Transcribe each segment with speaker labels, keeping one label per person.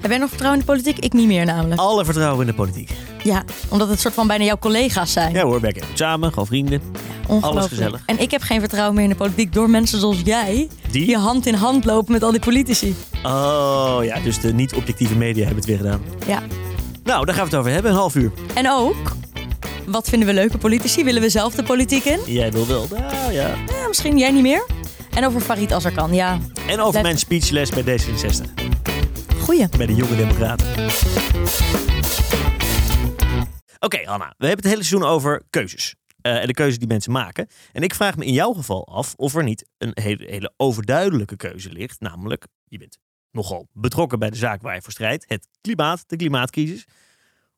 Speaker 1: Heb jij nog vertrouwen in de politiek? Ik niet meer namelijk.
Speaker 2: Alle vertrouwen in de politiek.
Speaker 1: Ja, omdat het soort van bijna jouw collega's zijn.
Speaker 2: Ja hoor, werken samen, gewoon vrienden.
Speaker 1: Ongelooflijk.
Speaker 2: alles gezellig.
Speaker 1: En ik heb geen vertrouwen meer in de politiek door mensen zoals jij.
Speaker 2: Die?
Speaker 1: Die hand in hand lopen met al die politici.
Speaker 2: Oh ja, dus de niet-objectieve media hebben het weer gedaan.
Speaker 1: Ja.
Speaker 2: Nou, daar gaan we het over hebben, een half uur.
Speaker 1: En ook, wat vinden we leuke politici? Willen we zelf de politiek in?
Speaker 2: Jij wil wel, nou ja.
Speaker 1: Ja, misschien jij niet meer. En over Farid Azarkan, ja.
Speaker 2: En over
Speaker 1: Blijf-
Speaker 2: mijn speechles bij D66,
Speaker 1: Goeie.
Speaker 2: bij de Jonge Democraten. Oké, Anna, we hebben het hele seizoen over keuzes. eh, en de keuzes die mensen maken. En ik vraag me in jouw geval af of er niet een hele, hele overduidelijke keuze ligt. Namelijk, je bent nogal betrokken bij de zaak waar je voor strijdt. Het klimaat, de klimaatcrisis.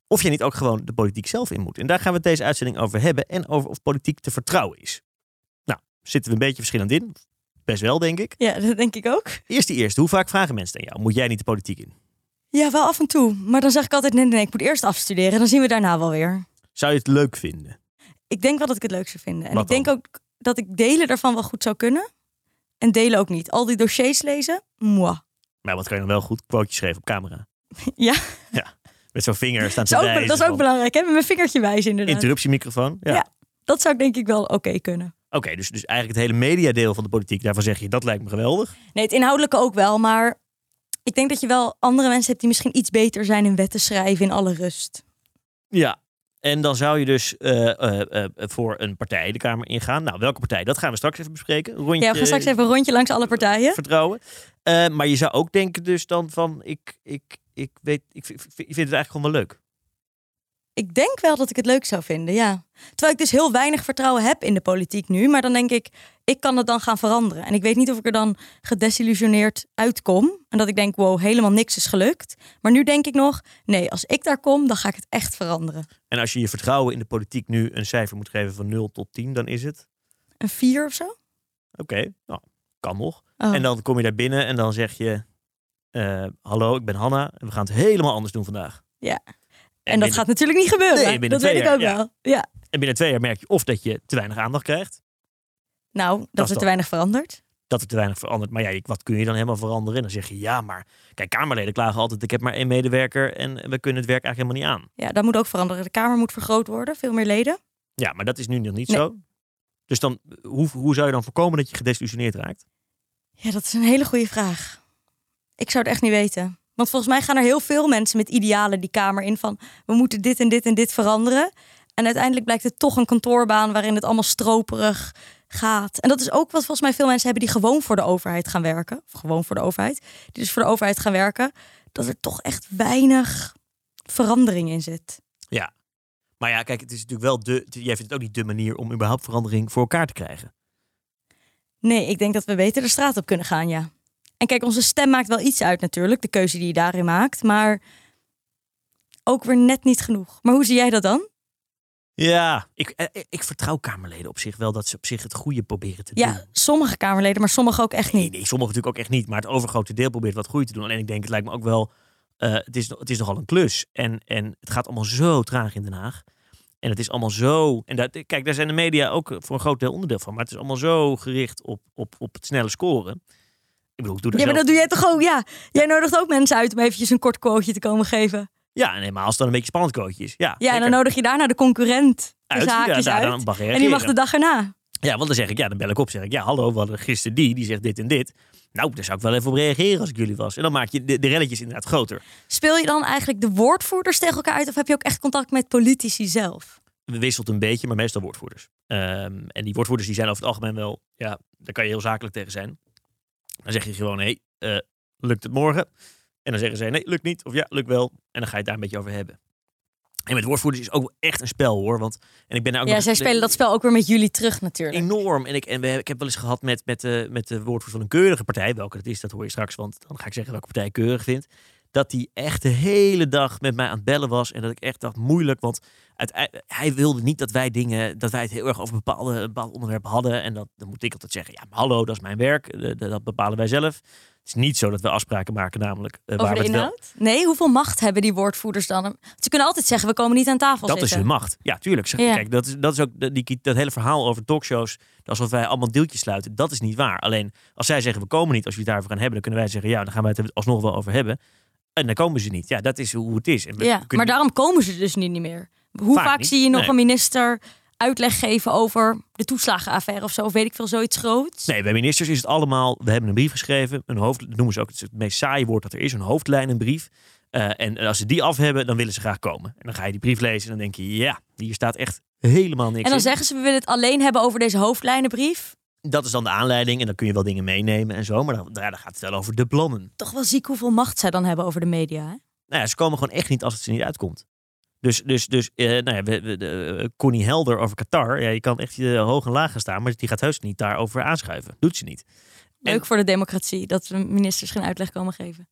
Speaker 2: Of je niet ook gewoon de politiek zelf in moet. En daar gaan we het deze uitzending over hebben. En over of politiek te vertrouwen is. Nou, zitten we een beetje verschillend in. Best wel, denk ik.
Speaker 1: Ja, dat denk ik ook.
Speaker 2: Eerst de eerste. Hoe vaak vragen mensen aan jou? Moet jij niet de politiek in?
Speaker 1: Ja, wel af en toe. Maar dan zeg ik altijd, nee, nee, nee, ik moet eerst afstuderen. Dan zien we daarna wel weer.
Speaker 2: Zou je het leuk vinden?
Speaker 1: Ik denk wel dat ik het leuk zou vinden. En
Speaker 2: Wat
Speaker 1: ik denk
Speaker 2: dan?
Speaker 1: ook dat ik delen daarvan wel goed zou kunnen. En delen ook niet. Al die dossiers lezen, moi.
Speaker 2: Maar wat kan je dan wel goed quotejes schrijven op camera?
Speaker 1: Ja.
Speaker 2: Ja. Met zo'n vinger staan
Speaker 1: Dat
Speaker 2: te
Speaker 1: is ook,
Speaker 2: wijzen
Speaker 1: dat is ook
Speaker 2: van
Speaker 1: belangrijk, hè? Met mijn vingertje wijzen inderdaad.
Speaker 2: Interruptiemicrofoon. Ja.
Speaker 1: Ja. Dat zou ik denk ik wel oké kunnen.
Speaker 2: Oké, dus, dus eigenlijk het hele mediadeel van de politiek. Daarvan zeg je, dat lijkt me geweldig.
Speaker 1: Nee, het inhoudelijke ook wel. Maar ik denk dat je wel andere mensen hebt die misschien iets beter zijn in wetten schrijven in alle rust.
Speaker 2: Ja. En dan zou je dus eh, eh, eh, voor een partij de Kamer ingaan. Nou, welke partij? Dat gaan we straks even bespreken. Een Rondje,
Speaker 1: Ja, we gaan straks even een rondje langs alle partijen.
Speaker 2: Vertrouwen. Eh, maar je zou ook denken dus dan van, ik, ik, ik, weet, ik, vind- ik vind het eigenlijk gewoon wel leuk.
Speaker 1: Ik denk wel dat ik het leuk zou vinden, ja. Terwijl ik dus heel weinig vertrouwen heb in de politiek nu. Maar dan denk ik, ik kan het dan gaan veranderen. En ik weet niet of ik er dan gedesillusioneerd uitkom. En dat ik denk, wow, helemaal niks is gelukt. Maar nu denk ik nog, nee, als ik daar kom, dan ga ik het echt veranderen.
Speaker 2: En als je je vertrouwen in de politiek nu een cijfer moet geven van 0 tot 10, dan is het...
Speaker 1: Een vier of zo?
Speaker 2: Oké, nou, kan nog.
Speaker 1: Oh.
Speaker 2: En dan kom je daar binnen en dan zeg je... eh, Hallo, ik ben Hanna en we gaan het helemaal anders doen vandaag.
Speaker 1: Ja.
Speaker 2: En,
Speaker 1: En dat
Speaker 2: binnen,
Speaker 1: gaat natuurlijk niet gebeuren.
Speaker 2: Nee, binnen
Speaker 1: dat
Speaker 2: twee
Speaker 1: weet ik
Speaker 2: jaar,
Speaker 1: ook
Speaker 2: ja.
Speaker 1: wel. Ja.
Speaker 2: en binnen twee jaar merk je of dat je te weinig aandacht krijgt...
Speaker 1: Nou, dat,
Speaker 2: dat.
Speaker 1: er te weinig verandert.
Speaker 2: dat er te weinig verandert. Maar ja, je- wat kun je dan helemaal veranderen? En dan zeg je, ja, maar... Kijk, Kamerleden klagen altijd, ik heb maar één medewerker... en we kunnen het werk eigenlijk helemaal niet aan.
Speaker 1: Ja, dat moet ook veranderen. De Kamer moet vergroot worden, veel meer leden.
Speaker 2: Ja, maar dat is nu nog niet
Speaker 1: Nee.
Speaker 2: zo. Dus dan, hoe, hoe zou je dan voorkomen dat je gedesillusioneerd raakt?
Speaker 1: Ja, dat is een hele goede vraag. Ik zou het echt niet weten. Want volgens mij gaan er heel veel mensen met idealen die Kamer in van we moeten dit en dit en dit veranderen. En uiteindelijk blijkt het toch een kantoorbaan waarin het allemaal stroperig gaat. En dat is ook wat volgens mij veel mensen hebben die gewoon voor de overheid gaan werken. Of gewoon voor de overheid. Die dus voor de overheid gaan werken. Dat er toch echt weinig verandering in zit.
Speaker 2: Maar ja, kijk, het is natuurlijk wel de... Jij vindt het ook niet de manier om überhaupt verandering voor elkaar te krijgen.
Speaker 1: Nee, ik denk dat we beter de straat op kunnen gaan, ja. En kijk, onze stem maakt wel iets uit natuurlijk, de keuze die je daarin maakt, maar ook weer net niet genoeg. Maar hoe zie jij dat dan?
Speaker 2: Ja, ik, eh, ik, ik vertrouw Kamerleden op zich wel dat ze op zich het goede proberen te doen.
Speaker 1: Ja, sommige Kamerleden, maar sommige ook echt
Speaker 2: Nee,
Speaker 1: niet.
Speaker 2: nee, sommigen natuurlijk ook echt niet, maar het overgrote deel probeert wat goede te doen. Alleen ik denk, het lijkt me ook wel, eh, het, is, het is nogal een klus. En, en het gaat allemaal zo traag in Den Haag. En het is allemaal zo, en dat, kijk, daar zijn de media ook voor een groot deel onderdeel van. Maar het is allemaal zo gericht op, op, op het snelle scoren. Ik bedoel, ik doe daar
Speaker 1: Ja, maar
Speaker 2: zelf-
Speaker 1: dat doe jij toch ook? Ja, jij nodigt ook mensen uit om eventjes een kort quoteje te komen geven.
Speaker 2: Ja, nee, maar als het dan een beetje spannend coachje is. Ja,
Speaker 1: Ja, en dan
Speaker 2: zeker.
Speaker 1: nodig je daarna de concurrent de
Speaker 2: Uit, ja,
Speaker 1: zaakjes
Speaker 2: daar-
Speaker 1: uit.
Speaker 2: dan mag je
Speaker 1: en die mag
Speaker 2: reageren.
Speaker 1: de dag erna.
Speaker 2: Ja, want dan zeg ik, ja, dan bel ik op. Zeg ik, ja, hallo, we hadden gisteren die, die zegt dit en dit. Nou, daar zou ik wel even op reageren als ik jullie was. En dan maak je de, de relletjes inderdaad groter.
Speaker 1: Speel je dan eigenlijk de woordvoerders tegen elkaar uit of heb je ook echt contact met politici zelf?
Speaker 2: We wisselt een beetje, maar meestal woordvoerders. Ehm, en die woordvoerders die zijn over het algemeen wel, ja, daar kan je heel zakelijk tegen zijn. Dan zeg je gewoon, hé, hey, eh, lukt het morgen? En dan zeggen ze, nee, lukt niet. Of ja, lukt wel. En dan ga je het daar een beetje over hebben. En met woordvoerders is ook wel echt een spel hoor. Want, en ik ben daar ook
Speaker 1: Ja,
Speaker 2: nog-
Speaker 1: zij spelen dat spel ook weer met jullie terug natuurlijk.
Speaker 2: enorm. En ik, en we, hebben- ik heb wel eens gehad met, met, de, met de woordvoerder van een keurige partij. Welke dat is, dat hoor je straks. Want dan ga ik zeggen welke partij ik keurig vind. Dat die echt de hele dag met mij aan het bellen was. En dat ik echt dacht, moeilijk. Want uiteindelijk, hij wilde niet dat wij dingen, dat wij het heel erg over bepaalde, een bepaald onderwerp hadden. En dat, dan moet ik altijd zeggen, ja, maar hallo, dat is mijn werk. Eh, Dat, dat bepalen wij zelf. Het is niet zo dat we afspraken maken namelijk. eh,
Speaker 1: Over
Speaker 2: we
Speaker 1: de
Speaker 2: het wel-
Speaker 1: inhoud? Nee, hoeveel macht hebben die woordvoerders dan? Ze kunnen altijd zeggen, we komen niet aan tafel
Speaker 2: Dat is
Speaker 1: zitten.
Speaker 2: hun macht. Ja, tuurlijk. Zeg-
Speaker 1: Ja.
Speaker 2: Kijk, dat is, dat is ook de- die, dat hele verhaal over talkshows. Alsof wij allemaal deeltjes sluiten. Dat is niet waar. Alleen als zij zeggen we komen niet, als we het daarover gaan hebben, dan kunnen wij zeggen ja, dan gaan wij het er alsnog wel over hebben. En dan komen ze niet. Ja, dat is hoe het is. En we
Speaker 1: ja,
Speaker 2: kunnen
Speaker 1: maar daarom komen ze dus niet, niet meer. Hoe
Speaker 2: Vaak
Speaker 1: vaak,
Speaker 2: niet,
Speaker 1: zie je nog
Speaker 2: nee.
Speaker 1: een minister uitleg geven over de toeslagenaffaire of zo? Of weet ik veel, zoiets groots?
Speaker 2: Nee, bij ministers is het allemaal. We hebben een brief geschreven. Een hoofd, dat noemen ze ook het, het meest saaie woord dat er is. Een hoofdlijn, een brief. Eh, en als ze die af hebben, dan willen ze graag komen. En dan ga je die brief lezen en dan denk je, ja, hier staat echt helemaal niks
Speaker 1: en dan
Speaker 2: in.
Speaker 1: zeggen ze, we willen het alleen hebben over deze hoofdlijnenbrief.
Speaker 2: Dat is dan de aanleiding en dan kun je wel dingen meenemen en zo. Maar dan, ja, dan gaat het wel over de plannen.
Speaker 1: Toch wel ziek hoeveel macht zij dan hebben over de media. Hè?
Speaker 2: Nou ja, ze komen gewoon echt niet als het ze niet uitkomt. Dus, dus, dus eh, nou ja, we, we- de, eh, Connie Helder over Qatar. Ja, je kan echt eh, hoog en laag gaan staan, maar die gaat heus niet daarover aanschuiven. Doet ze niet.
Speaker 1: Leuk voor de democratie dat we ministers geen uitleg komen geven.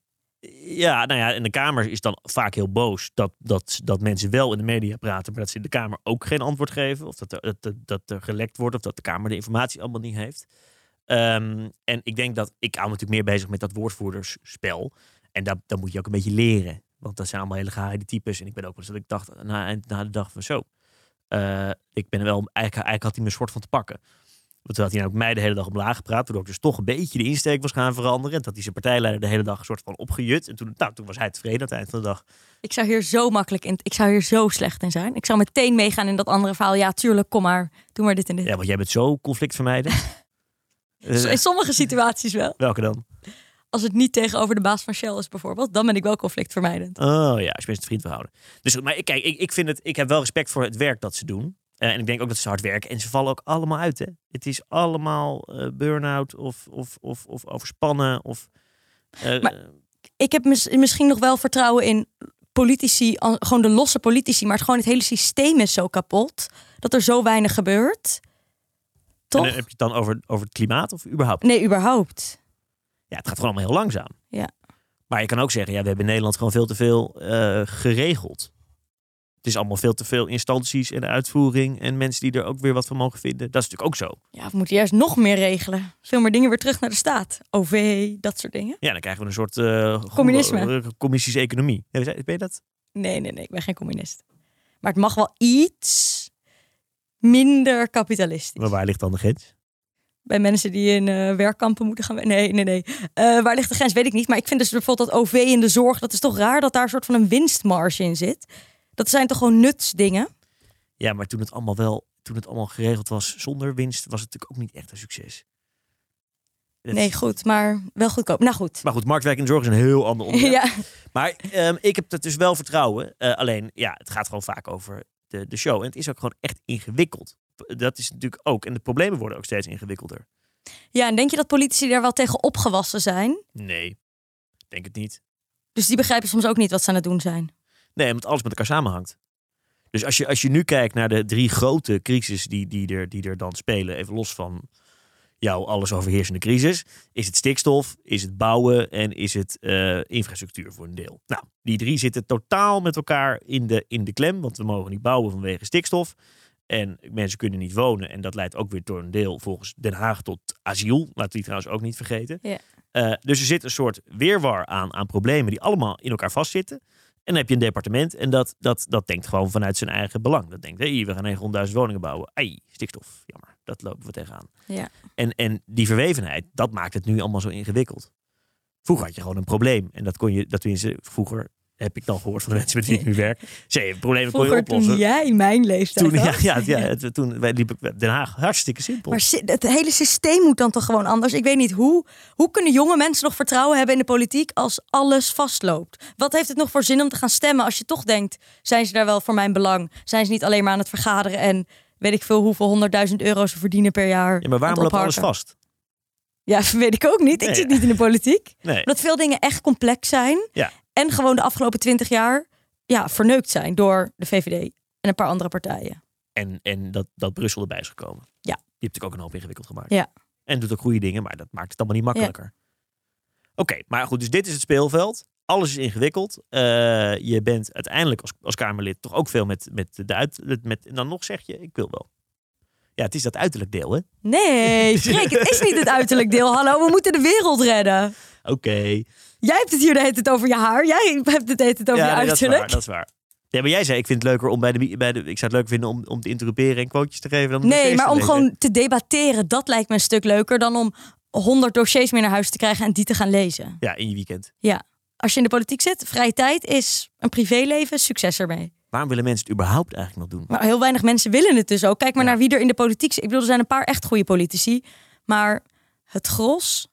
Speaker 2: Ja, nou ja, en de Kamer is dan vaak heel boos dat, dat, dat mensen wel in de media praten, maar dat ze in de Kamer ook geen antwoord geven. Of dat er, dat, dat- dat er gelekt wordt, of dat de Kamer de informatie allemaal niet heeft. Ehm, en ik denk dat ik hou me natuurlijk meer bezig met dat woordvoerdersspel. En dat, dat moet je ook een beetje leren. Want dat zijn allemaal hele geheide types. En ik ben ook wel eens dat ik dacht na, na de dag van zo. eh, ik ben wel, eigenlijk, eigenlijk had hij me een soort van te pakken. Want toen had hij nou ook mij de hele dag omlaag gepraat. Waardoor ik dus toch een beetje de insteek was gaan veranderen. En dat hij zijn partijleider de hele dag een soort van opgejut. En toen, nou, toen was hij tevreden aan het eind van de dag.
Speaker 1: Ik zou hier zo makkelijk in, ik zou hier zo slecht in zijn. Ik zou meteen meegaan in dat andere verhaal. Ja, tuurlijk, kom maar, doe maar dit en dit.
Speaker 2: Ja, want jij bent zo conflictvermijdend. Eh,
Speaker 1: In sommige situaties wel.
Speaker 2: welke dan?
Speaker 1: Als het niet tegenover de baas van Shell is bijvoorbeeld, dan ben ik wel conflictvermijdend.
Speaker 2: Oh ja, als je mensen te vriend wil houden. Dus goed, maar ik- kijk, ik, ik, vind het, ik heb wel respect voor het werk dat ze doen. Eh, en ik denk ook dat ze hard werken. En ze vallen ook allemaal uit. Hè? Het is allemaal eh, burn-out of, of, of, of overspannen. Of, eh,
Speaker 1: Maar- Ik heb mis- misschien nog wel vertrouwen in politici, an- gewoon de losse politici, maar het, gewoon het hele systeem is zo kapot dat er zo weinig gebeurt.
Speaker 2: en eh,
Speaker 1: Toch?
Speaker 2: dan heb je het dan over, over het klimaat of überhaupt?
Speaker 1: Nee, überhaupt.
Speaker 2: Ja, het gaat gewoon allemaal heel langzaam.
Speaker 1: Ja.
Speaker 2: Maar je kan ook zeggen, ja, we hebben in Nederland gewoon veel te veel eh, geregeld. Het is allemaal veel te veel instanties en uitvoering en mensen die er ook weer wat van mogen vinden. Dat is natuurlijk ook zo.
Speaker 1: Ja, we moeten juist nog meer regelen. Veel meer dingen weer terug naar de staat. OV, dat soort dingen.
Speaker 2: Ja, dan krijgen we een soort eh
Speaker 1: Communisme.
Speaker 2: eh, communistische economie. Ja, Ben je dat?
Speaker 1: Nee, nee, nee, ik ben geen communist. Maar het mag wel iets minder kapitalistisch.
Speaker 2: Maar waar ligt dan de grens?
Speaker 1: Bij mensen die in eh, werkkampen moeten gaan. wer- Nee, nee, nee. Eh, waar ligt de grens? Weet ik niet. Maar ik vind dus bijvoorbeeld dat OV in de zorg. Dat is toch raar dat daar een soort van een winstmarge in zit. Dat zijn toch gewoon nutsdingen?
Speaker 2: Ja, maar toen het allemaal wel, toen het allemaal geregeld was zonder winst, was het natuurlijk ook niet echt een succes. Dat
Speaker 1: Nee,
Speaker 2: is-
Speaker 1: goed. Maar wel goedkoop. Nou goed.
Speaker 2: Maar goed, marktwerking in de zorg is een heel ander onderwerp.
Speaker 1: Ja,
Speaker 2: Maar ehm, ik heb dat dus wel vertrouwen. Eh, alleen, ja, het gaat gewoon vaak over de, de show. En het is ook gewoon echt ingewikkeld. Dat is natuurlijk ook. En de problemen worden ook steeds ingewikkelder.
Speaker 1: ja, en denk je dat politici daar wel tegen opgewassen zijn?
Speaker 2: Nee, denk het niet.
Speaker 1: Dus die begrijpen soms ook niet wat ze aan het doen zijn.
Speaker 2: Nee, omdat alles met elkaar samenhangt. Dus als je, als je nu kijkt naar de drie grote crises die, die, er, die er dan spelen, even los van jouw alles overheersende crisis, is het stikstof, is het bouwen en is het eh, infrastructuur voor een deel. Nou, die drie zitten totaal met elkaar in de, in de klem, want we mogen niet bouwen vanwege stikstof. En mensen kunnen niet wonen. En dat leidt ook weer door een deel volgens Den Haag tot asiel. Laten we die trouwens ook niet vergeten.
Speaker 1: Ja.
Speaker 2: Eh, dus er zit een soort weerwar aan, aan problemen die allemaal in elkaar vastzitten. En dan heb je een departement en dat, dat, dat denkt gewoon vanuit zijn eigen belang. Dat denkt, hé, we gaan 900.000 woningen bouwen. Ai, stikstof, jammer, dat lopen we tegenaan.
Speaker 1: Ja.
Speaker 2: En, en die verwevenheid, dat maakt het nu allemaal zo ingewikkeld. Vroeger had je gewoon een probleem. En dat kon je, dat tenminste, vroeger heb ik dan gehoord van de mensen met wie ik nu werk. Ze hebben problemen kon je
Speaker 1: Vroeger toen
Speaker 2: oplossen.
Speaker 1: jij mijn leeftijd
Speaker 2: Toen, ja,
Speaker 1: had.
Speaker 2: ja, ja, het- toen wij liepen ik Den Haag, hartstikke simpel.
Speaker 1: Maar si- het hele systeem moet dan toch gewoon anders? Ik weet niet hoe. Hoe kunnen jonge mensen nog vertrouwen hebben in de politiek als alles vastloopt? Wat heeft het nog voor zin om te gaan stemmen als je toch denkt: zijn ze daar wel voor mijn belang? Zijn ze niet alleen maar aan het vergaderen en weet ik veel hoeveel honderdduizend euro ze verdienen per jaar?
Speaker 2: ja, maar waarom
Speaker 1: aan het
Speaker 2: loopt alles
Speaker 1: opharken?
Speaker 2: vast?
Speaker 1: Ja, weet ik ook niet. Ik
Speaker 2: Nee,
Speaker 1: zit
Speaker 2: ja.
Speaker 1: niet in de politiek.
Speaker 2: Nee.
Speaker 1: Omdat veel dingen echt complex zijn
Speaker 2: Ja.
Speaker 1: en gewoon de afgelopen twintig jaar ja, verneukt zijn door de VVD en een paar andere partijen.
Speaker 2: En, en dat, dat Brussel erbij is gekomen.
Speaker 1: Ja.
Speaker 2: Die hebt natuurlijk ook een hoop ingewikkeld gemaakt.
Speaker 1: Ja.
Speaker 2: En doet ook goede dingen, maar dat maakt het allemaal niet makkelijker. Oké, maar goed, dus dit is het speelveld. Alles is ingewikkeld. Eh, je bent uiteindelijk als, als Kamerlid toch ook veel met, met de uit... Met, en dan nog zeg je, ik wil wel. Ja, het is dat uiterlijk deel, hè?
Speaker 1: Nee, Freek, het is niet het uiterlijk deel. Hallo, we moeten de wereld redden.
Speaker 2: Oké.
Speaker 1: Jij hebt het hier de hele tijd over je haar. Jij hebt het de hele tijd over
Speaker 2: Ja,
Speaker 1: je
Speaker 2: nee, dat is waar,
Speaker 1: uiterlijk.
Speaker 2: dat is waar. Ja, maar jij zei, ik vind het leuker om bij de... Bij de ik zou het leuk vinden om, om te interruperen en quotejes te geven dan de
Speaker 1: nee,
Speaker 2: dossiers
Speaker 1: maar
Speaker 2: te
Speaker 1: om
Speaker 2: lezen.
Speaker 1: gewoon te debatteren, dat lijkt me een stuk leuker dan om honderd dossiers meer naar huis te krijgen en die te gaan lezen.
Speaker 2: Ja, in je weekend.
Speaker 1: Ja. als je in de politiek zit, vrije tijd is een privéleven, succes ermee.
Speaker 2: Waarom willen mensen het überhaupt eigenlijk nog doen?
Speaker 1: Maar heel weinig mensen willen het dus ook. Kijk maar
Speaker 2: Ja.
Speaker 1: naar wie er in de politiek zit. Ik bedoel, er zijn een paar echt goede politici. Maar het gros,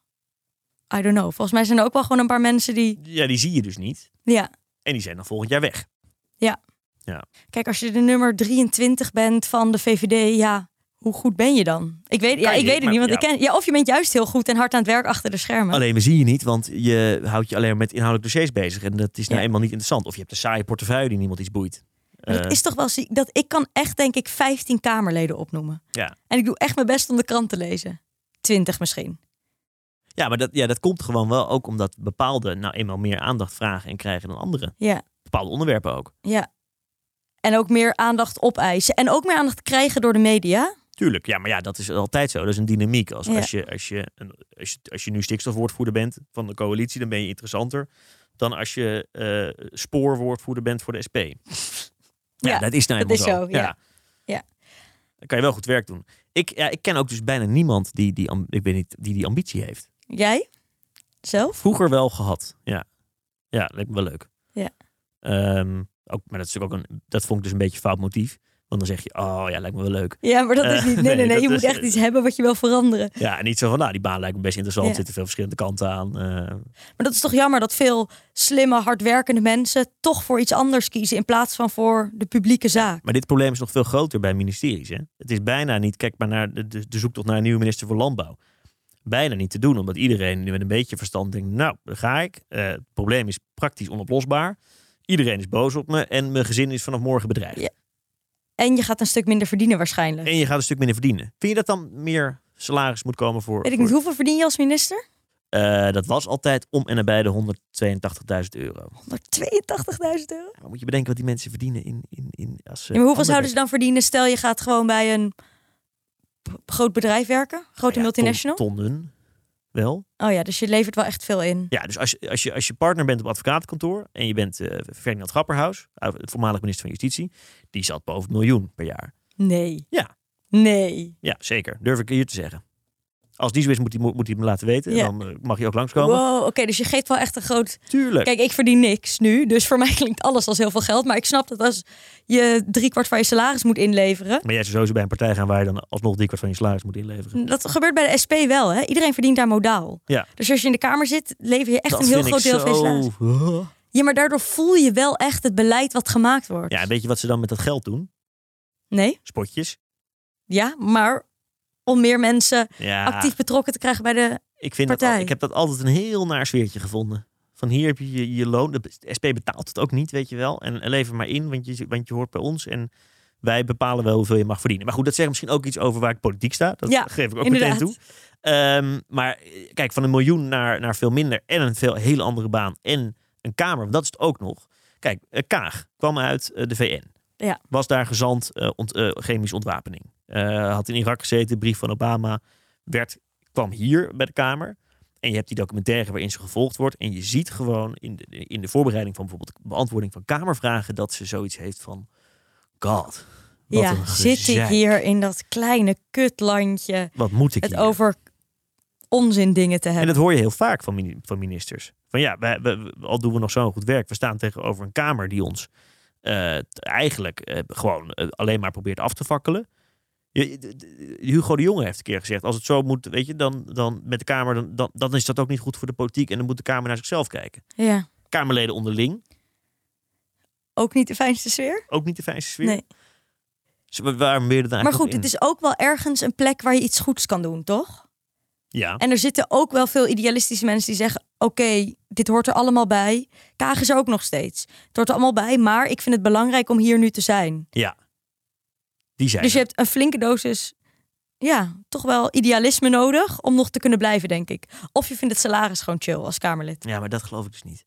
Speaker 1: I don't know. Volgens mij zijn er ook wel gewoon een paar mensen die...
Speaker 2: Ja, die zie je dus niet.
Speaker 1: Ja,
Speaker 2: En die zijn dan volgend jaar weg.
Speaker 1: kijk, als je de nummer 23 bent van de VVD, ja, hoe goed ben je dan? Ik weet, ja,
Speaker 2: Kan je
Speaker 1: ik weet het
Speaker 2: niet,
Speaker 1: niet,
Speaker 2: maar
Speaker 1: want ik ken... Ja, of je bent juist heel goed en hard aan het werk achter de schermen.
Speaker 2: Alleen we zien je niet, want je houdt je alleen maar met inhoudelijke dossiers bezig. En dat is nou
Speaker 1: Ja.
Speaker 2: eenmaal niet interessant. Of je hebt een saaie portefeuille die niemand iets boeit.
Speaker 1: Maar
Speaker 2: Eh,
Speaker 1: dat is toch wel ziek. Dat, ik kan echt, denk ik, 15 Kamerleden opnoemen.
Speaker 2: Ja.
Speaker 1: En ik doe echt mijn best om de krant te lezen. 20 misschien.
Speaker 2: Ja, maar dat, ja, dat komt gewoon wel ook omdat bepaalde nou eenmaal meer aandacht vragen en krijgen dan andere.
Speaker 1: Ja.
Speaker 2: Bepaalde onderwerpen ook.
Speaker 1: Ja. En ook meer aandacht opeisen. En ook meer aandacht krijgen door de media.
Speaker 2: Tuurlijk, ja, maar ja, dat is altijd zo. Dat is een dynamiek. Als,
Speaker 1: Ja.
Speaker 2: als, je, als, je, een- als, je, als je nu stikstofwoordvoerder bent van de coalitie, dan ben je interessanter dan als je eh, spoorwoordvoerder bent voor de SP. Ja,
Speaker 1: Ja,
Speaker 2: dat is nou
Speaker 1: dat
Speaker 2: eenmaal
Speaker 1: is zo, ja. Ja.
Speaker 2: Dan kan je wel goed werk doen. Ik, ja, ik ken ook dus bijna niemand die die, am- ik weet niet, die die ambitie heeft.
Speaker 1: Jij? Zelf?
Speaker 2: Vroeger wel gehad, ja. Ja, lijkt me wel leuk.
Speaker 1: Ja.
Speaker 2: Ehm, ook, maar dat, is natuurlijk ook een, dat vond ik dus een beetje een fout motief. Want dan zeg je, oh ja, lijkt me wel leuk.
Speaker 1: Ja, maar dat is
Speaker 2: Eh,
Speaker 1: niet. Nee,
Speaker 2: nee,
Speaker 1: nee, nee.
Speaker 2: dat
Speaker 1: Je moet
Speaker 2: is-
Speaker 1: echt iets hebben wat je wil veranderen.
Speaker 2: Ja, en niet zo van, nou, die baan lijkt me best interessant.
Speaker 1: Ja.
Speaker 2: Zitten veel verschillende kanten aan. eh.
Speaker 1: Maar dat is toch jammer dat veel slimme, hardwerkende mensen toch voor iets anders kiezen in plaats van voor de publieke zaak.
Speaker 2: maar dit probleem is nog veel groter bij ministeries. Hè? Het is bijna niet, kijk maar naar de, de, de zoektocht naar een nieuwe minister voor Landbouw. Bijna niet te doen, omdat iedereen nu met een beetje verstand denkt, nou, daar ga ik. Eh, het probleem is praktisch onoplosbaar. Iedereen is boos op me en mijn gezin is vanaf morgen bedreigd.
Speaker 1: Ja. En je gaat een stuk minder verdienen waarschijnlijk.
Speaker 2: En je gaat een stuk minder verdienen. Vind je dat dan meer salaris moet komen voor...
Speaker 1: Weet ik
Speaker 2: voor-
Speaker 1: niet, hoeveel verdien je als minister?
Speaker 2: Eh, dat was altijd om en nabij de 182.000 euro.
Speaker 1: 182.000 euro.
Speaker 2: Maar moet je bedenken wat die mensen verdienen in... in, in als, eh,
Speaker 1: Ja, maar hoeveel zouden ze dan verdienen? Stel je gaat gewoon bij een p- groot bedrijf werken, grote Oh,
Speaker 2: Nou ja, ton-
Speaker 1: multinational.
Speaker 2: tonnen wel.
Speaker 1: Oh ja, dus je levert wel echt veel in.
Speaker 2: Ja, dus als je, als, je, als je partner bent op advocatenkantoor en je bent eh Ferdinand Grapperhaus, eh, het voormalig minister van Justitie, die zat boven het miljoen per jaar.
Speaker 1: Nee.
Speaker 2: Ja.
Speaker 1: Nee.
Speaker 2: Ja, zeker. Durf ik hier te zeggen. Als die zo is, moet hij moet hij me laten weten.
Speaker 1: Ja.
Speaker 2: En dan eh, mag je ook langskomen.
Speaker 1: Wow, oké, dus je geeft wel echt een groot...
Speaker 2: Tuurlijk.
Speaker 1: Kijk, ik verdien niks nu, dus voor mij klinkt alles als heel veel geld. Maar ik snap dat als je driekwart van je salaris moet inleveren...
Speaker 2: Maar jij zou sowieso bij een partij gaan waar je dan alsnog driekwart van je salaris moet inleveren.
Speaker 1: Dat gebeurt bij de SP wel, hè? Iedereen verdient daar modaal.
Speaker 2: Ja.
Speaker 1: Dus als je in de Kamer zit, lever je echt
Speaker 2: Dat
Speaker 1: een heel
Speaker 2: vind ik
Speaker 1: groot deel van je salaris.
Speaker 2: zo...
Speaker 1: Ja, maar daardoor voel je wel echt het beleid wat gemaakt wordt.
Speaker 2: Ja, en weet je wat ze dan met dat geld doen?
Speaker 1: Nee?
Speaker 2: Spotjes.
Speaker 1: Ja, maar om meer mensen
Speaker 2: Ja,
Speaker 1: actief betrokken te krijgen bij de...
Speaker 2: ik, vind dat al-
Speaker 1: partij.
Speaker 2: ik heb dat altijd een heel naar sfeertje gevonden. Van hier heb je je, je loon. De SP betaalt het ook niet, weet je wel. En lever maar in, want je, want je hoort bij ons. En wij bepalen wel hoeveel je mag verdienen. Maar goed, dat zegt misschien ook iets over waar ik politiek sta. Dat
Speaker 1: Ja,
Speaker 2: geef ik ook
Speaker 1: inderdaad.
Speaker 2: meteen toe. Ehm, maar eh, kijk, van een miljoen naar, naar veel minder. En een veel, hele andere baan. En een kamer, want dat is het ook nog. Kijk, eh, Kaag kwam uit eh, de VN.
Speaker 1: Ja.
Speaker 2: Was daar gezant eh, ont- eh, chemische ontwapening. Eh, had in Irak gezeten, brief van Obama. Werd, kwam hier bij de Kamer. En je hebt die documentaire waarin ze gevolgd wordt. En je ziet gewoon in de, in de voorbereiding van bijvoorbeeld de beantwoording van Kamervragen... dat ze zoiets heeft van... God, wat
Speaker 1: ja,
Speaker 2: een
Speaker 1: zit ik
Speaker 2: gezeik.
Speaker 1: hier in dat kleine kutlandje...
Speaker 2: Wat moet ik
Speaker 1: het
Speaker 2: hier?
Speaker 1: over onzin dingen te
Speaker 2: En
Speaker 1: hebben.
Speaker 2: dat hoor je heel vaak van, mini- van ministers. Van ja, wij, wij- wij- al doen we nog zo'n goed werk, we staan tegenover een Kamer die ons eh, t- eigenlijk eh, gewoon eh, alleen maar probeert af te vakkelen. Je- je- de- de- Hugo de Jonge heeft een keer gezegd: als het zo moet, weet je, dan, dan met de Kamer, dan, dan, dan is dat ook niet goed voor de politiek en dan moet de Kamer naar zichzelf kijken.
Speaker 1: Ja,
Speaker 2: Kamerleden onderling,
Speaker 1: ook niet de fijnste sfeer.
Speaker 2: ook niet de fijnste sfeer.
Speaker 1: Nee.
Speaker 2: Dus wa- waarom wil je dat eigenlijk
Speaker 1: Maar
Speaker 2: nog
Speaker 1: goed,
Speaker 2: in?
Speaker 1: het is ook wel ergens een plek waar je iets goeds kan doen, toch?
Speaker 2: Ja,
Speaker 1: En er zitten ook wel veel idealistische mensen die zeggen... oké, dit hoort er allemaal bij. Kaag is er ook nog steeds. Het hoort er allemaal bij, maar ik vind het belangrijk om hier nu te zijn.
Speaker 2: ja. Die zijn
Speaker 1: Dus je
Speaker 2: er.
Speaker 1: hebt een flinke dosis... ja, toch wel idealisme nodig om nog te kunnen blijven, denk ik. Of je vindt het salaris gewoon chill als Kamerlid.
Speaker 2: Ja, maar dat geloof ik dus niet.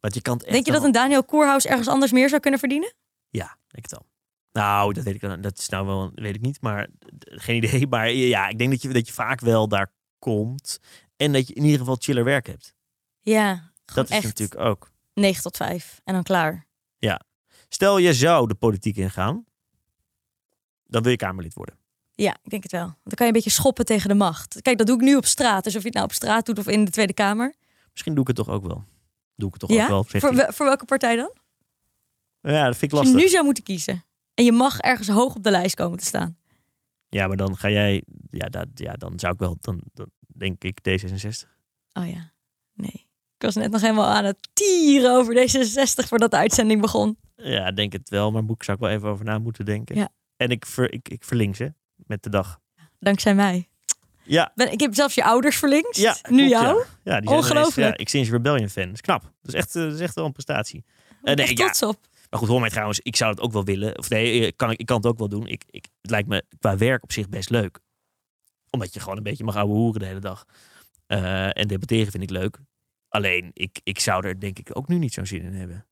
Speaker 2: Want je kan het echt
Speaker 1: Denk je dat
Speaker 2: wel-
Speaker 1: een Daniel Koerhuis ergens anders meer zou kunnen verdienen?
Speaker 2: Ja, denk het al. Nou, dat weet ik dan. Dat is nou wel, weet ik niet, maar d- geen idee. Maar ja, ik denk dat je, dat je vaak wel daar komt. En dat je in ieder geval chiller werk hebt.
Speaker 1: Ja, gewoon
Speaker 2: Dat is
Speaker 1: echt
Speaker 2: natuurlijk ook.
Speaker 1: 9 tot 5 en dan klaar.
Speaker 2: Stel je zou de politiek ingaan, dan wil je Kamerlid worden.
Speaker 1: Ja, ik denk het wel. Want Dan kan je een beetje schoppen tegen de macht. Kijk, dat doe ik nu op straat. Dus of je het nou op straat doet of in de Tweede Kamer.
Speaker 2: Misschien doe ik het toch ook wel. Doe ik het toch
Speaker 1: ja?
Speaker 2: ook wel. Zegt
Speaker 1: voor,
Speaker 2: hij.
Speaker 1: wel- voor welke partij dan?
Speaker 2: ja, dat vind ik
Speaker 1: Als je
Speaker 2: lastig.
Speaker 1: nu zou moeten kiezen. En je mag ergens hoog op de lijst komen te staan.
Speaker 2: Ja, maar dan ga jij... Ja, dat, ja dan zou ik wel... Dan, dan denk ik D66.
Speaker 1: Oh ja, nee. Ik was net nog helemaal aan het tieren over D66 voordat de uitzending begon.
Speaker 2: Ja, denk het wel. Maar boek zou ik wel even over na moeten denken.
Speaker 1: Ja.
Speaker 2: En ik, ver, ik, ik verlink ze met de dag.
Speaker 1: Dankzij mij.
Speaker 2: Ja.
Speaker 1: Ben, ik heb zelfs je ouders verlinkt.
Speaker 2: Ja, klopt,
Speaker 1: nu
Speaker 2: ja.
Speaker 1: jou.
Speaker 2: Ja, die zijn ineens-
Speaker 1: Ongelooflijk.
Speaker 2: ja, ik sinds Rebellion fan. Dat is knap. Dat is echt, eh, dat is echt wel een prestatie. Eh,
Speaker 1: Ik ben
Speaker 2: nee,
Speaker 1: echt
Speaker 2: ja.
Speaker 1: trots op.
Speaker 2: Maar goed, hoor mij trouwens, ik zou het ook wel willen. Of nee, eh, kan, ik, ik kan het ook wel doen. Ik, ik, het lijkt me qua werk op zich best leuk. Omdat je gewoon een beetje mag ouwe hoeren de hele dag. Eh, en debatteren vind ik leuk. Alleen, ik, ik zou er denk ik ook nu niet zo'n zin in hebben.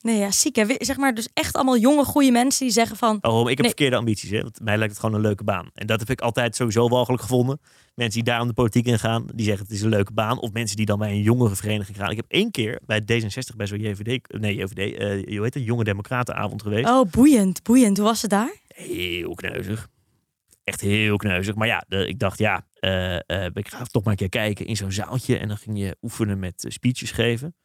Speaker 1: Nee, ja, ziek hè. We- Zeg maar, dus echt allemaal jonge, goede mensen die zeggen van...
Speaker 2: Oh, maar ik heb
Speaker 1: Nee.
Speaker 2: verkeerde ambities. Hè? Want mij lijkt het gewoon een leuke baan. En dat heb ik altijd sowieso walgelijk gevonden. Mensen die daarom de politiek in gaan, die zeggen het is een leuke baan. Of mensen die dan bij een jongerenvereniging gaan. Ik heb één keer bij D66 bij zo'n JVD, nee JVD, eh hoe heet het, Jonge Democratenavond geweest.
Speaker 1: Oh, boeiend, boeiend. Hoe was het daar?
Speaker 2: heel kneuzig. Echt heel kneuzig. Maar ja, de- ik dacht, ja, eh, eh, ik ga toch maar een keer kijken in zo'n zaaltje. En dan ging je oefenen met eh, speeches geven.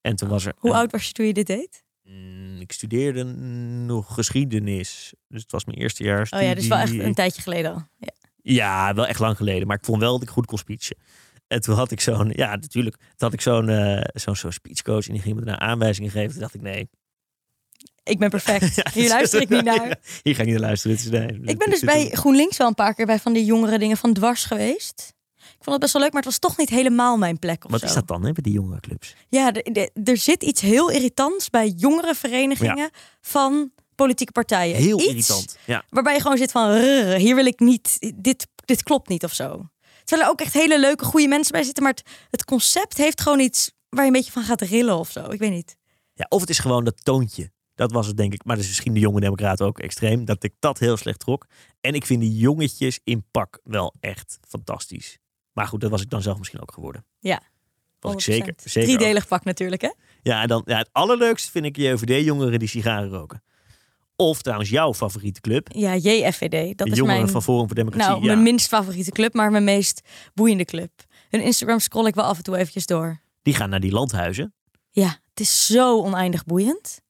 Speaker 2: En toen was er...
Speaker 1: Hoe
Speaker 2: een-
Speaker 1: oud was je toen je dit deed?
Speaker 2: Mm, ik studeerde nog geschiedenis. Dus het was mijn eerste jaar
Speaker 1: Oh ja, dus wel echt
Speaker 2: studie.
Speaker 1: een tijdje geleden al. Ja.
Speaker 2: Ja, wel echt lang geleden. Maar ik vond wel dat ik goed kon speechen. En toen had ik zo'n, ja natuurlijk, toen had ik zo'n eh, zo'n zo'n speechcoach. En die ging me daarna aanwijzingen geven. Toen dacht ik, nee.
Speaker 1: Ik ben perfect.
Speaker 2: Ja,
Speaker 1: Hier luister ik niet naar.
Speaker 2: Hier ga ik niet naar luisteren. Dit is- nee, dit-
Speaker 1: Ik ben dus
Speaker 2: dit is
Speaker 1: bij GroenLinks wel een paar keer bij van die jongere dingen van dwars geweest. Ik vond het best wel leuk, maar het was toch niet helemaal mijn plek of
Speaker 2: Wat
Speaker 1: zo.
Speaker 2: is dat dan, hè, bij die jongere clubs?
Speaker 1: Ja, de- de- er zit iets heel irritants bij jongere verenigingen van politieke partijen.
Speaker 2: Heel
Speaker 1: Iets
Speaker 2: irritant. Ja.
Speaker 1: Waarbij je gewoon zit van, "Rrr, hier wil ik niet, dit, dit klopt niet of zo. Terwijl er ook echt hele leuke, goede mensen bij zitten, maar het, het concept heeft gewoon iets waar je een beetje van gaat rillen of zo. Ik weet niet.
Speaker 2: Ja, of het is gewoon dat toontje. Dat was het, denk ik. Maar dat is misschien de jonge democraten ook extreem. Dat ik dat heel slecht trok. En ik vind die jongetjes in pak wel echt fantastisch. Maar goed, dat was ik dan zelf misschien ook geworden.
Speaker 1: Ja,
Speaker 2: Was ik
Speaker 1: 100%.
Speaker 2: zeker. zeker ook.
Speaker 1: Driedelig pak natuurlijk, hè?
Speaker 2: Ja, en dan, ja, het allerleukste vind ik JOVD-jongeren die sigaren roken. Of trouwens jouw favoriete club.
Speaker 1: Ja, JFVD. Dat
Speaker 2: de
Speaker 1: is
Speaker 2: jongeren
Speaker 1: mijn...
Speaker 2: van Forum voor Democratie.
Speaker 1: Nou,
Speaker 2: ja.
Speaker 1: mijn minst favoriete club, maar mijn meest boeiende club. Hun Instagram scroll ik wel af en toe eventjes door.
Speaker 2: Die gaan naar die landhuizen.
Speaker 1: Ja, het is zo oneindig boeiend.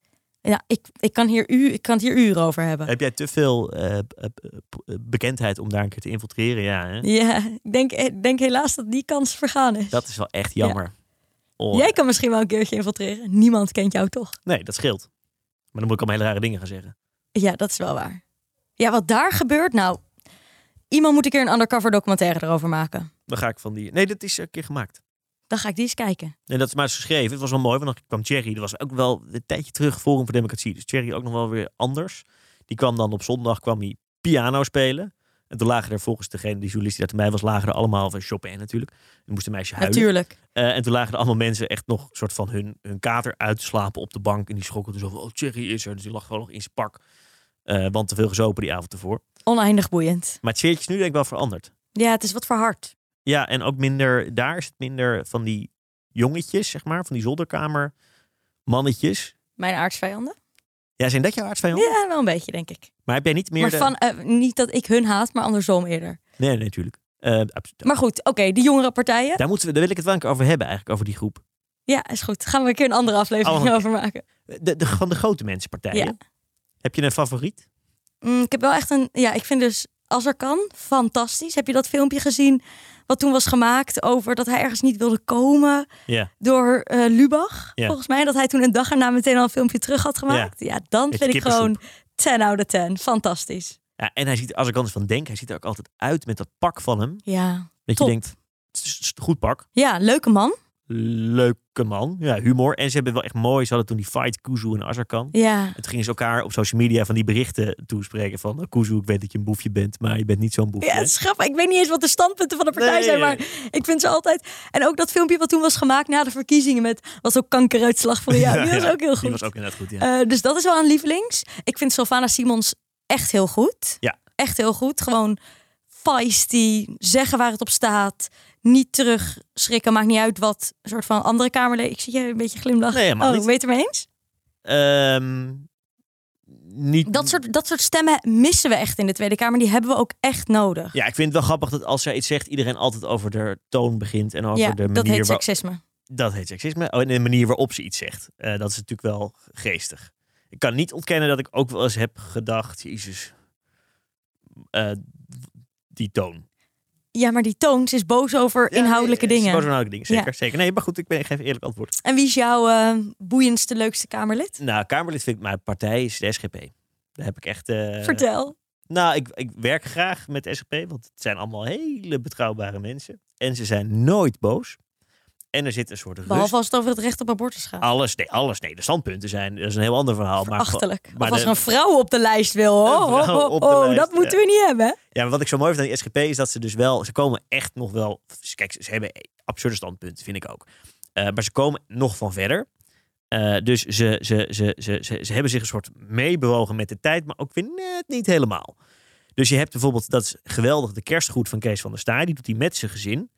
Speaker 1: Ja, ik, ik, kan, hier u, ik kan het hier uren over hebben.
Speaker 2: Heb jij te veel eh, b- b- b- bekendheid om daar een keer te infiltreren? Ja, hè?
Speaker 1: Ja, ik denk, ik denk helaas dat die kans vergaan is.
Speaker 2: dat is wel echt jammer. Oh,
Speaker 1: Jij kan misschien wel een keertje infiltreren. Niemand kent jou toch?
Speaker 2: Nee, dat scheelt. Maar dan moet ik allemaal hele rare dingen gaan zeggen.
Speaker 1: Ja, dat is wel waar. Ja, wat daar gebeurt, nou... Iemand moet een keer een undercover documentaire erover maken.
Speaker 2: Dan ga ik van die... Nee, dat is een keer gemaakt.
Speaker 1: Dan ga ik die eens kijken.
Speaker 2: Nee, dat is maar eens geschreven. Het was wel mooi, want dan kwam Thierry. Dat was ook wel een tijdje terug Forum voor Democratie. Dus Thierry ook nog wel weer anders. Die kwam dan op zondag kwam hij piano spelen. En toen lagen er volgens degene, die journalist die daar te mij was, lagen er allemaal van Chopin natuurlijk. En moest een meisje huilen.
Speaker 1: Natuurlijk.
Speaker 2: Eh, en toen lagen er allemaal mensen echt nog een soort van hun, hun kater uit te slapen op de bank. En die schrokken toen zo van, oh Thierry is er. Dus die lag gewoon nog in zijn pak. Eh, want te veel gezopen die avond ervoor.
Speaker 1: Oneindig boeiend.
Speaker 2: Maar het sfeertje is nu denk ik wel veranderd.
Speaker 1: Ja, het is wat voor hard.
Speaker 2: Ja, en ook minder, daar is het minder van die jongetjes, zeg maar, van die zolderkamer mannetjes.
Speaker 1: Mijn aardsvijanden?
Speaker 2: Ja, zijn dat jouw aardsvijanden?
Speaker 1: Ja, wel een beetje, denk ik.
Speaker 2: Maar heb jij niet meer
Speaker 1: Maar
Speaker 2: de-
Speaker 1: van, eh, niet dat ik hun haat, maar andersom eerder.
Speaker 2: Nee, nee, natuurlijk. Eh, absoluut.
Speaker 1: Maar goed, oké, die jongere partijen.
Speaker 2: daar, moeten we, daar wil ik het wel een keer over hebben, eigenlijk, over die groep.
Speaker 1: Ja, is goed. Gaan we een keer een andere aflevering
Speaker 2: Oh, oké.
Speaker 1: over maken.
Speaker 2: De, de, van de grote mensenpartijen.
Speaker 1: Ja.
Speaker 2: Heb je een favoriet?
Speaker 1: Mm, ik heb wel echt een... Ja, ik vind dus, als er kan, fantastisch. Heb je dat filmpje gezien wat toen was gemaakt over dat hij ergens niet wilde komen
Speaker 2: Ja.
Speaker 1: door eh, Lubach?
Speaker 2: Ja.
Speaker 1: Volgens mij dat hij toen een dag erna meteen al een filmpje terug had gemaakt. Ja, dan
Speaker 2: Met
Speaker 1: vind ik
Speaker 2: kippensoep.
Speaker 1: gewoon 10 out of 10. Fantastisch.
Speaker 2: ja. En hij ziet, als ik anders van denk, hij ziet er ook altijd uit met dat pak van hem.
Speaker 1: Ja.
Speaker 2: Dat
Speaker 1: Top.
Speaker 2: je denkt, het is- het is een goed pak.
Speaker 1: Ja, leuke man.
Speaker 2: Leuke man. Ja, humor. En ze hebben wel echt mooi, ze hadden toen die fight Kuzu en Azarkan.
Speaker 1: Ja.
Speaker 2: En toen gingen ze elkaar op social media van die berichten toespreken van... "Nou, Kuzu, ik weet dat je een boefje bent, maar je bent niet zo'n boefje.
Speaker 1: Ja,
Speaker 2: hè?"
Speaker 1: het is grappig. Ik weet niet eens wat de standpunten van de partij
Speaker 2: Nee,
Speaker 1: zijn,
Speaker 2: nee,
Speaker 1: maar ik vind ze altijd. En ook dat filmpje wat toen was gemaakt na de verkiezingen met was ook kankeruitslag voor jou. die was
Speaker 2: Ja,
Speaker 1: ook heel goed.
Speaker 2: Die was ook inderdaad goed, ja.
Speaker 1: Eh, dus dat is wel een lievelings. Ik vind Sylvana Simons echt heel goed.
Speaker 2: Ja.
Speaker 1: Echt heel goed. Gewoon feisty, zeggen waar het op staat, niet terug schrikken, maakt niet uit wat een soort van andere kamerleden. Ik zie jij een beetje glimlachen.
Speaker 2: Nee, helemaal
Speaker 1: oh,
Speaker 2: niet.
Speaker 1: weet het mee eens?
Speaker 2: Ehm, niet...
Speaker 1: Dat soort, dat soort stemmen missen we echt in de Tweede Kamer. Die hebben we ook echt nodig.
Speaker 2: Ja, ik vind het wel grappig dat als zij iets zegt... iedereen altijd over de toon begint en over
Speaker 1: Ja,
Speaker 2: de
Speaker 1: dat
Speaker 2: manier
Speaker 1: heet
Speaker 2: waarop...
Speaker 1: seksisme.
Speaker 2: Dat heet seksisme. Oh, en de manier waarop ze iets zegt. Eh, dat is natuurlijk wel geestig. Ik kan niet ontkennen dat ik ook wel eens heb gedacht, Jezus, eh, die toon.
Speaker 1: Ja, maar die toons is boos over inhoudelijke
Speaker 2: Ja, nee,
Speaker 1: dingen.
Speaker 2: het is gewoon inhoudelijke dingen, zeker. zeker. Nee, maar goed, ik, ben, ik geef een eerlijk antwoord.
Speaker 1: En wie is jouw eh, boeiendste, leukste Kamerlid?
Speaker 2: Nou, Kamerlid vind ik mijn partij is de SGP. Daar heb ik echt... eh,
Speaker 1: Vertel.
Speaker 2: Nou, ik, ik werk graag met SGP, want het zijn allemaal hele betrouwbare mensen. En ze zijn nooit boos. En er zit een soort rust.
Speaker 1: Behalve als het over het recht op abortus gaat.
Speaker 2: Alles, nee, alles, nee. De standpunten zijn, dat is een heel ander verhaal. Maar, gewoon-
Speaker 1: Achterlijk.
Speaker 2: maar
Speaker 1: of als
Speaker 2: de-
Speaker 1: er een vrouw op de lijst wil.
Speaker 2: Een
Speaker 1: Oh, oh,
Speaker 2: vrouw
Speaker 1: oh,
Speaker 2: op de
Speaker 1: oh,
Speaker 2: lijst,
Speaker 1: dat
Speaker 2: ja.
Speaker 1: moeten we niet hebben.
Speaker 2: Ja, maar wat ik zo mooi vind aan die SGP is dat ze dus wel, ze komen echt nog wel, dus kijk, ze hebben absurde standpunten, vind ik ook. Eh, maar ze komen nog van verder. Eh, dus ze, ze, ze, ze, ze, ze hebben zich een soort meebewogen met de tijd, maar ook weer net niet helemaal. Dus je hebt bijvoorbeeld, dat is geweldig, de kerstgoed van Kees van der Staaij. Die doet hij met zijn gezin.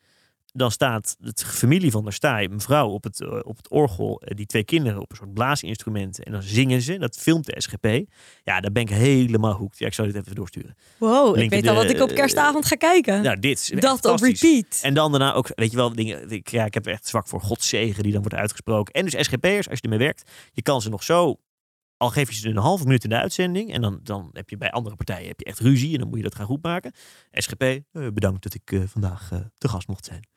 Speaker 2: Dan staat de familie van der Staaij, een vrouw op het, eh, op het orgel. eh, Die twee kinderen op een soort blaasinstrument. En dan zingen ze. Dat filmt de SGP. Ja, daar ben ik helemaal hoekt. Ja, ik zal dit even doorsturen.
Speaker 1: Wow, ik
Speaker 2: Linken
Speaker 1: weet al
Speaker 2: de-
Speaker 1: wat ik op kerstavond ga kijken.
Speaker 2: Nou, dit eh, is echt
Speaker 1: dat op
Speaker 2: fantastisch.
Speaker 1: repeat.
Speaker 2: En dan daarna ook, weet je wel, dingen. Ik, ja, ik heb er echt zwak voor Godzegen die dan wordt uitgesproken. En dus SGP'ers, als je ermee werkt, je kan ze nog zo. Al geef je ze een halve minuut in de uitzending. En dan, dan heb je bij andere partijen heb je echt ruzie. En dan moet je dat gaan goedmaken. SGP, eh, bedankt dat ik eh, vandaag eh, te gast mocht zijn.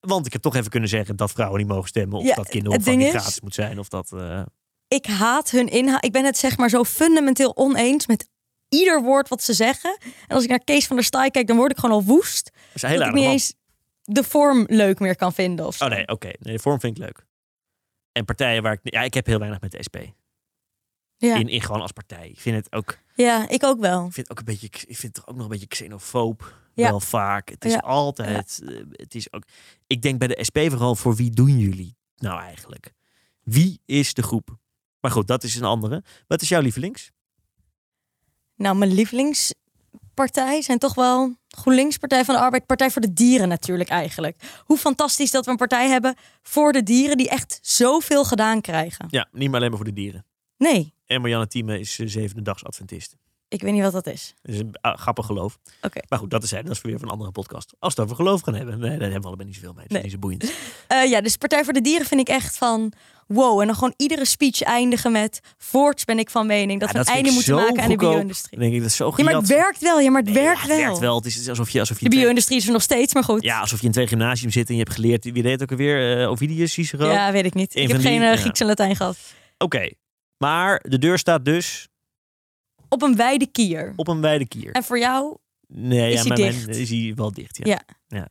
Speaker 2: Want ik heb toch even kunnen zeggen dat vrouwen niet mogen stemmen. Of
Speaker 1: Ja,
Speaker 2: dat kinderopvang
Speaker 1: ding
Speaker 2: niet
Speaker 1: is-
Speaker 2: gratis moet zijn. Of dat. eh,
Speaker 1: Ik haat hun inhoud. Ik ben het zeg maar zo fundamenteel oneens met ieder woord wat ze zeggen. En als ik naar Kees van der Staaij kijk, dan word ik gewoon al woest.
Speaker 2: is een hele
Speaker 1: dat ik
Speaker 2: aardige
Speaker 1: niet
Speaker 2: man.
Speaker 1: eens de vorm leuk meer kan vinden. Of zo.
Speaker 2: Oh nee, oké. Nee, de vorm vind ik leuk. En partijen waar ik. Ja, ik heb heel weinig met de SP.
Speaker 1: Ja.
Speaker 2: In, in gewoon als partij. Ik vind het ook.
Speaker 1: ja, ik ook wel.
Speaker 2: Ik vind het ook een beetje, ik vind het ook nog een beetje xenofoob.
Speaker 1: Ja.
Speaker 2: Wel vaak. Het is
Speaker 1: Ja.
Speaker 2: altijd. eh, Het is ook. Ik denk bij de SP vooral voor wie doen jullie nou eigenlijk? Wie is de groep? Maar goed, dat is een andere. Wat is jouw lievelings?
Speaker 1: Nou, mijn lievelingspartij zijn toch wel GroenLinks, Partij van de Arbeid, Partij voor de Dieren natuurlijk eigenlijk. Hoe fantastisch dat we een partij hebben voor de dieren die echt zoveel gedaan krijgen.
Speaker 2: Ja, niet maar alleen maar voor de dieren.
Speaker 1: Nee,
Speaker 2: En Marianne Thieme is eh, zevende dags Adventist.
Speaker 1: ik weet niet wat dat is.
Speaker 2: Dat is een ah, grappig geloof.
Speaker 1: Oké.
Speaker 2: Maar goed, dat is, hij. dat is weer van een andere podcast. Als we het over geloof gaan hebben, nee, daar hebben we allebei niet zoveel mee. Dat
Speaker 1: Nee.
Speaker 2: is niet zo boeiend.
Speaker 1: Eh, ja, dus Partij voor de Dieren vind ik echt van wow. En dan gewoon iedere speech eindigen met voorts ben ik van mening dat
Speaker 2: Ja,
Speaker 1: we een
Speaker 2: vind
Speaker 1: einde
Speaker 2: ik
Speaker 1: moeten
Speaker 2: zo
Speaker 1: maken aan de
Speaker 2: goedkoop.
Speaker 1: bio-industrie.
Speaker 2: Dan denk ik, dat is zo
Speaker 1: Ja, maar het
Speaker 2: gejat.
Speaker 1: werkt wel. Ja, maar het
Speaker 2: Nee, ja,
Speaker 1: werkt, wel.
Speaker 2: Het werkt wel. Het is- het is alsof je, alsof je
Speaker 1: De bio-industrie is er nog steeds, maar goed.
Speaker 2: Ja, alsof je in het gymnasium zit en je hebt geleerd, wie deed het ook alweer, eh Ovidius, Cicero.
Speaker 1: Ja, weet ik niet.
Speaker 2: Een
Speaker 1: ik heb
Speaker 2: van die-
Speaker 1: geen eh,
Speaker 2: ja.
Speaker 1: Grieks en Latijn gehad.
Speaker 2: Oké, maar de deur staat dus
Speaker 1: Op een wijde kier.
Speaker 2: op een wijde kier.
Speaker 1: En voor jou,
Speaker 2: Nee,
Speaker 1: Is
Speaker 2: ja,
Speaker 1: hij
Speaker 2: maar
Speaker 1: dicht?
Speaker 2: mijn- is hij wel dicht, ja.
Speaker 1: Ja.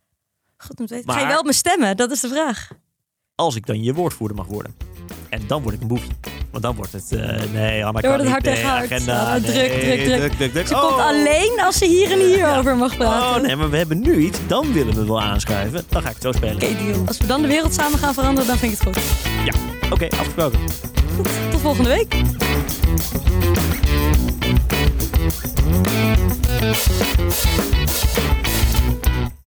Speaker 1: goed om te weten. Ga je
Speaker 2: Maar-
Speaker 1: wel op me stemmen? Dat is de vraag.
Speaker 2: Als ik dan je woordvoerder mag worden. En dan word ik een boefje. Want dan wordt het, eh, nee, Anna
Speaker 1: Dan wordt
Speaker 2: kan
Speaker 1: het
Speaker 2: niet,
Speaker 1: hard
Speaker 2: nee,
Speaker 1: tegen hard.
Speaker 2: agenda,
Speaker 1: Ah,
Speaker 2: nee,
Speaker 1: druk, druk, druk.
Speaker 2: druk, druk, druk.
Speaker 1: Ze
Speaker 2: Oh.
Speaker 1: komt alleen als ze hier en hier over mag praten.
Speaker 2: Oh nee, maar we hebben nu iets. Dan willen we het wel aanschuiven. Dan ga ik het zo spelen.
Speaker 1: Oké, deal. Als we dan de wereld samen gaan veranderen, dan vind ik het goed.
Speaker 2: Ja, oké, afgesproken.
Speaker 1: Goed, tot volgende week.